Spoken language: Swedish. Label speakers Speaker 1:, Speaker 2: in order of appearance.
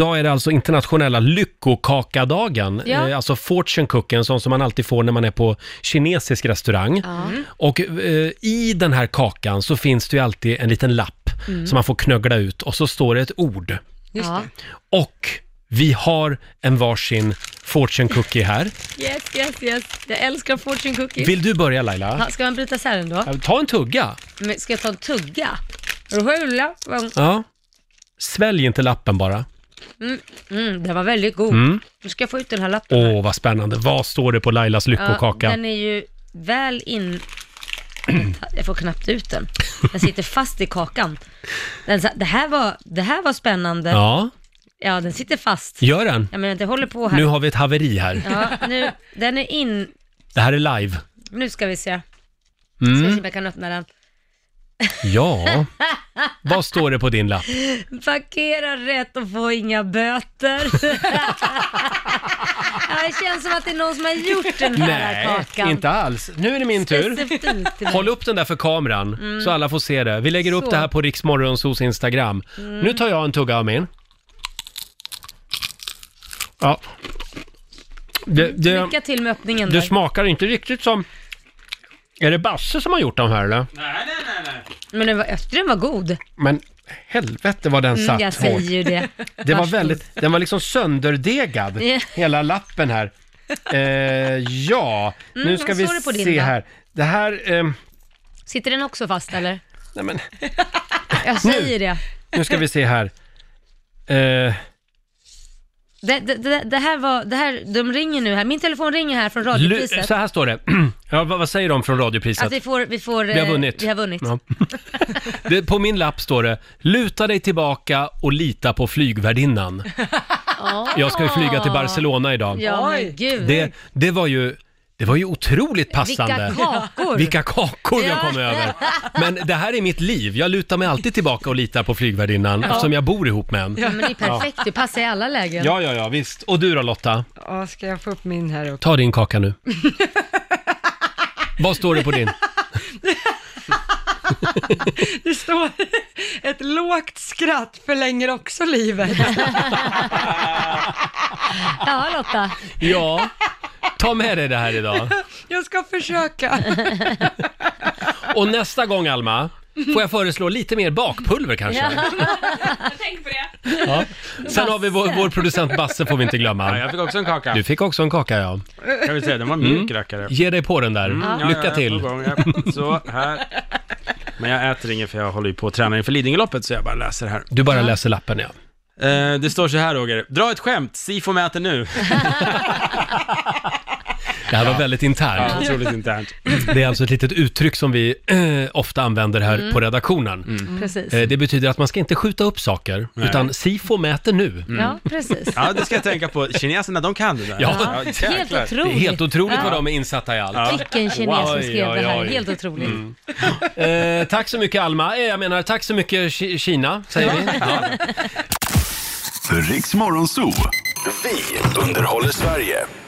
Speaker 1: Idag är det alltså internationella lyckokakadagen,
Speaker 2: Ja.
Speaker 1: Eh, alltså fortune cookie, en sån som man alltid får när man är på kinesisk restaurang. Och eh, i den här kakan så finns det ju alltid en liten lapp
Speaker 2: Mm.
Speaker 1: som man får knöggla ut och så står det ett ord.
Speaker 2: Just ja.
Speaker 1: Och vi har en varsin fortune cookie här.
Speaker 2: Yes, yes, yes. Jag älskar fortune cookies.
Speaker 1: Vill du börja Laila?
Speaker 2: Ja, ska man bryta isär den då?
Speaker 1: Ja, Ta en tugga.
Speaker 2: Men ska jag ta en tugga? Rulla.
Speaker 1: Ja. Svälj inte lappen bara.
Speaker 2: Mm, den var väldigt god. Nu ska jag få ut den här lappen.
Speaker 1: Åh, vad spännande. Vad står det på Lailas lyckokaka?
Speaker 2: den är ju väl in... Jag får knappt ut den. Den sitter fast i kakan. Den, sa- det, här var, det här var spännande. Ja.
Speaker 1: Ja,
Speaker 2: den sitter fast.
Speaker 1: gör den.
Speaker 2: Jag menar, det håller på här.
Speaker 1: Nu har vi ett haveri här.
Speaker 2: Ja, nu, den är in...
Speaker 1: Det här är live.
Speaker 2: Nu ska vi se. Ska vi se
Speaker 1: Mm.
Speaker 2: om jag kan öppna den.
Speaker 1: Ja. Vad står det på din lapp?
Speaker 2: Parkera rätt och få inga böter. ja, det känns som att det är någon som har gjort den här kakan.
Speaker 1: inte alls. Nu är det min tur.
Speaker 2: Specifikt till mig.
Speaker 1: Håll upp den där för kameran så alla får se det. Vi lägger upp
Speaker 2: Mm. Så. Mm.
Speaker 1: det här på Riksmorgonsos Instagram. Nu tar jag en tugga av min. Ja. Det,
Speaker 2: Mm,
Speaker 1: det,
Speaker 2: Lycka till med öppningen
Speaker 1: det
Speaker 2: där.
Speaker 1: smakar inte riktigt som... Är det Basse som har gjort de här eller?
Speaker 3: Nej, nej, nej, nej.
Speaker 2: Men den var, jag tyckte den var god.
Speaker 1: Men helvete vad den
Speaker 2: Mm, jag
Speaker 1: satt
Speaker 2: säger
Speaker 1: hårt.
Speaker 2: ju det.
Speaker 1: Det var
Speaker 2: Varsågod.
Speaker 1: väldigt, den var liksom sönderdegad,
Speaker 2: Ja.
Speaker 1: hela lappen här. Eh, ja, nu
Speaker 2: Mm,
Speaker 1: ska
Speaker 2: vad
Speaker 1: vi
Speaker 2: står det på din
Speaker 1: se
Speaker 2: då?
Speaker 1: här. Det här, ehm,
Speaker 2: Sitter den också fast eller?
Speaker 1: nej men,
Speaker 2: Jag säger det.
Speaker 1: nu ska vi se här. Eh,
Speaker 2: Det, det, det, det här var, det här, de ringer nu här. Min telefon ringer här från
Speaker 1: lu-
Speaker 2: radiopriset.
Speaker 1: så här står det, ja, vad, vad säger de från radiopriset?
Speaker 2: Att vi får, vi får...
Speaker 1: vi har
Speaker 2: eh,
Speaker 1: vunnit.
Speaker 2: Vi har vunnit.
Speaker 1: Ja. det, på min lapp står det, luta dig tillbaka och lita på flygvärdinnan. Jag ska ju flyga till Barcelona idag.
Speaker 2: Ja,
Speaker 4: Oj.
Speaker 2: men gud.
Speaker 1: Det, det var ju, det var ju otroligt passande.
Speaker 2: Vilka kakor.
Speaker 1: Vilka kakor jag
Speaker 2: Ja.
Speaker 1: kom över! Men det här är mitt liv. Jag lutar mig alltid tillbaka och litar på flygvärdinnan eftersom jag bor ihop med en.
Speaker 2: Ja, men det är perfekt, du passar i alla lägen.
Speaker 1: Ja, ja, ja, visst. Och du då Lotta?
Speaker 4: Ja, ska jag få upp min här också?
Speaker 1: Ta din kaka nu. Vad står det på din?
Speaker 4: Det står ett lågt skratt förlänger också livet.
Speaker 2: Ja, Lotta.
Speaker 1: Ja, ta med dig det här idag.
Speaker 4: Jag ska försöka.
Speaker 1: Och nästa gång Alma, får jag föreslå lite mer bakpulver kanske?
Speaker 5: Tänk på det.
Speaker 1: Ja. Sen har vi vår, vår producent Basse får vi inte
Speaker 3: Ja,
Speaker 1: glömma.
Speaker 3: jag fick också en kaka.
Speaker 1: Du fick också en kaka ja.
Speaker 3: Kan vi säga, den var mjuk rackare.
Speaker 1: Ge dig på den där.
Speaker 3: Mm. Ja, ja,
Speaker 1: Lycka
Speaker 3: ja,
Speaker 1: till.
Speaker 3: på gång, ja. Så, här. Men jag äter inget för jag håller ju på att träna inför Lidingöloppet, så jag bara läser här.
Speaker 1: Du bara läser lappen ja.
Speaker 3: Eh, det står så här, Roger. Dra ett skämt, Sifo mäter nu.
Speaker 1: Det här var väldigt internt.
Speaker 3: Ja, otroligt internt.
Speaker 1: Det är alltså ett litet uttryck som vi eh, ofta använder här på redaktionen.
Speaker 2: Precis.
Speaker 1: Eh, det betyder att man ska inte skjuta upp saker, utan SIFO mäter nu.
Speaker 2: Ja, precis.
Speaker 3: Ja, det ska jag tänka på. Kineserna, de kan det där.
Speaker 1: Ja.
Speaker 2: Helt
Speaker 3: jäklar.
Speaker 1: Det är
Speaker 2: otroligt.
Speaker 1: helt otroligt vad de är insatta i allt.
Speaker 2: Vilken kines som
Speaker 1: Oj,
Speaker 2: skrev
Speaker 1: oj,
Speaker 2: det här.
Speaker 1: oj. Mm.
Speaker 2: Helt otroligt.
Speaker 1: Eh, tack så mycket Alma, eh, jag menar tack så mycket Ki- Kina, säger vi. Ja.
Speaker 6: Riks Morgonzoo. Vi underhåller Sverige.